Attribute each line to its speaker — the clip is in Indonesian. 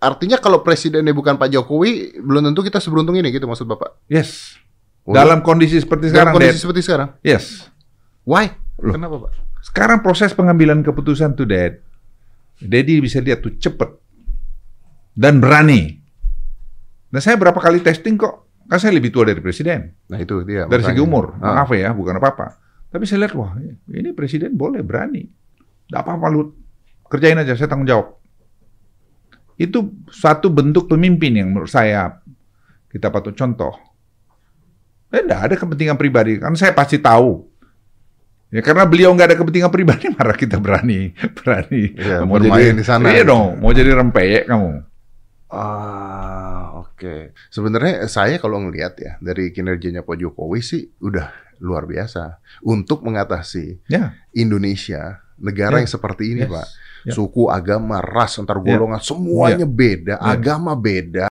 Speaker 1: artinya kalau presidennya bukan Pak Jokowi, belum tentu kita seberuntung ini gitu maksud Bapak.
Speaker 2: Yes.
Speaker 1: Waduh.
Speaker 2: Dalam kondisi seperti
Speaker 1: Dalam
Speaker 2: sekarang,
Speaker 1: kondisi
Speaker 2: Dad.
Speaker 1: seperti sekarang.
Speaker 2: Yes.
Speaker 1: Why?
Speaker 2: Loh.
Speaker 1: Kenapa, Pak?
Speaker 2: Sekarang proses pengambilan keputusan tuh, Dad. Daddy bisa lihat tuh cepet. Dan berani. Nah, saya berapa kali testing kok. Kan saya lebih tua dari presiden.
Speaker 1: Nah, itu dia.
Speaker 2: dari segi
Speaker 1: makanya.
Speaker 2: umur.
Speaker 1: Ah.
Speaker 2: Maaf ya, bukan apa-apa. Tapi saya lihat, wah ini presiden boleh, berani. Tidak apa-apa, Lut. Kerjain aja, saya tanggung jawab. Itu satu bentuk pemimpin yang menurut saya kita patut contoh. Eh, tidak ada kepentingan pribadi. Kan saya pasti tahu. Ya karena beliau nggak ada kepentingan pribadi, marah kita berani, berani
Speaker 1: Iya, bermain di sana.
Speaker 2: Iya dong, mau jadi rempeyek kamu.
Speaker 1: Ah, oke. Sebenarnya saya kalau ngelihat ya dari kinerjanya Pak Jokowi sih udah luar biasa untuk mengatasi
Speaker 2: Ya.
Speaker 1: Indonesia negara
Speaker 2: Ya.
Speaker 1: yang seperti ini,
Speaker 2: Yes.
Speaker 1: Pak.
Speaker 2: Ya.
Speaker 1: Suku, agama, ras, antar golongan semuanya beda,
Speaker 2: Ya.
Speaker 1: agama beda,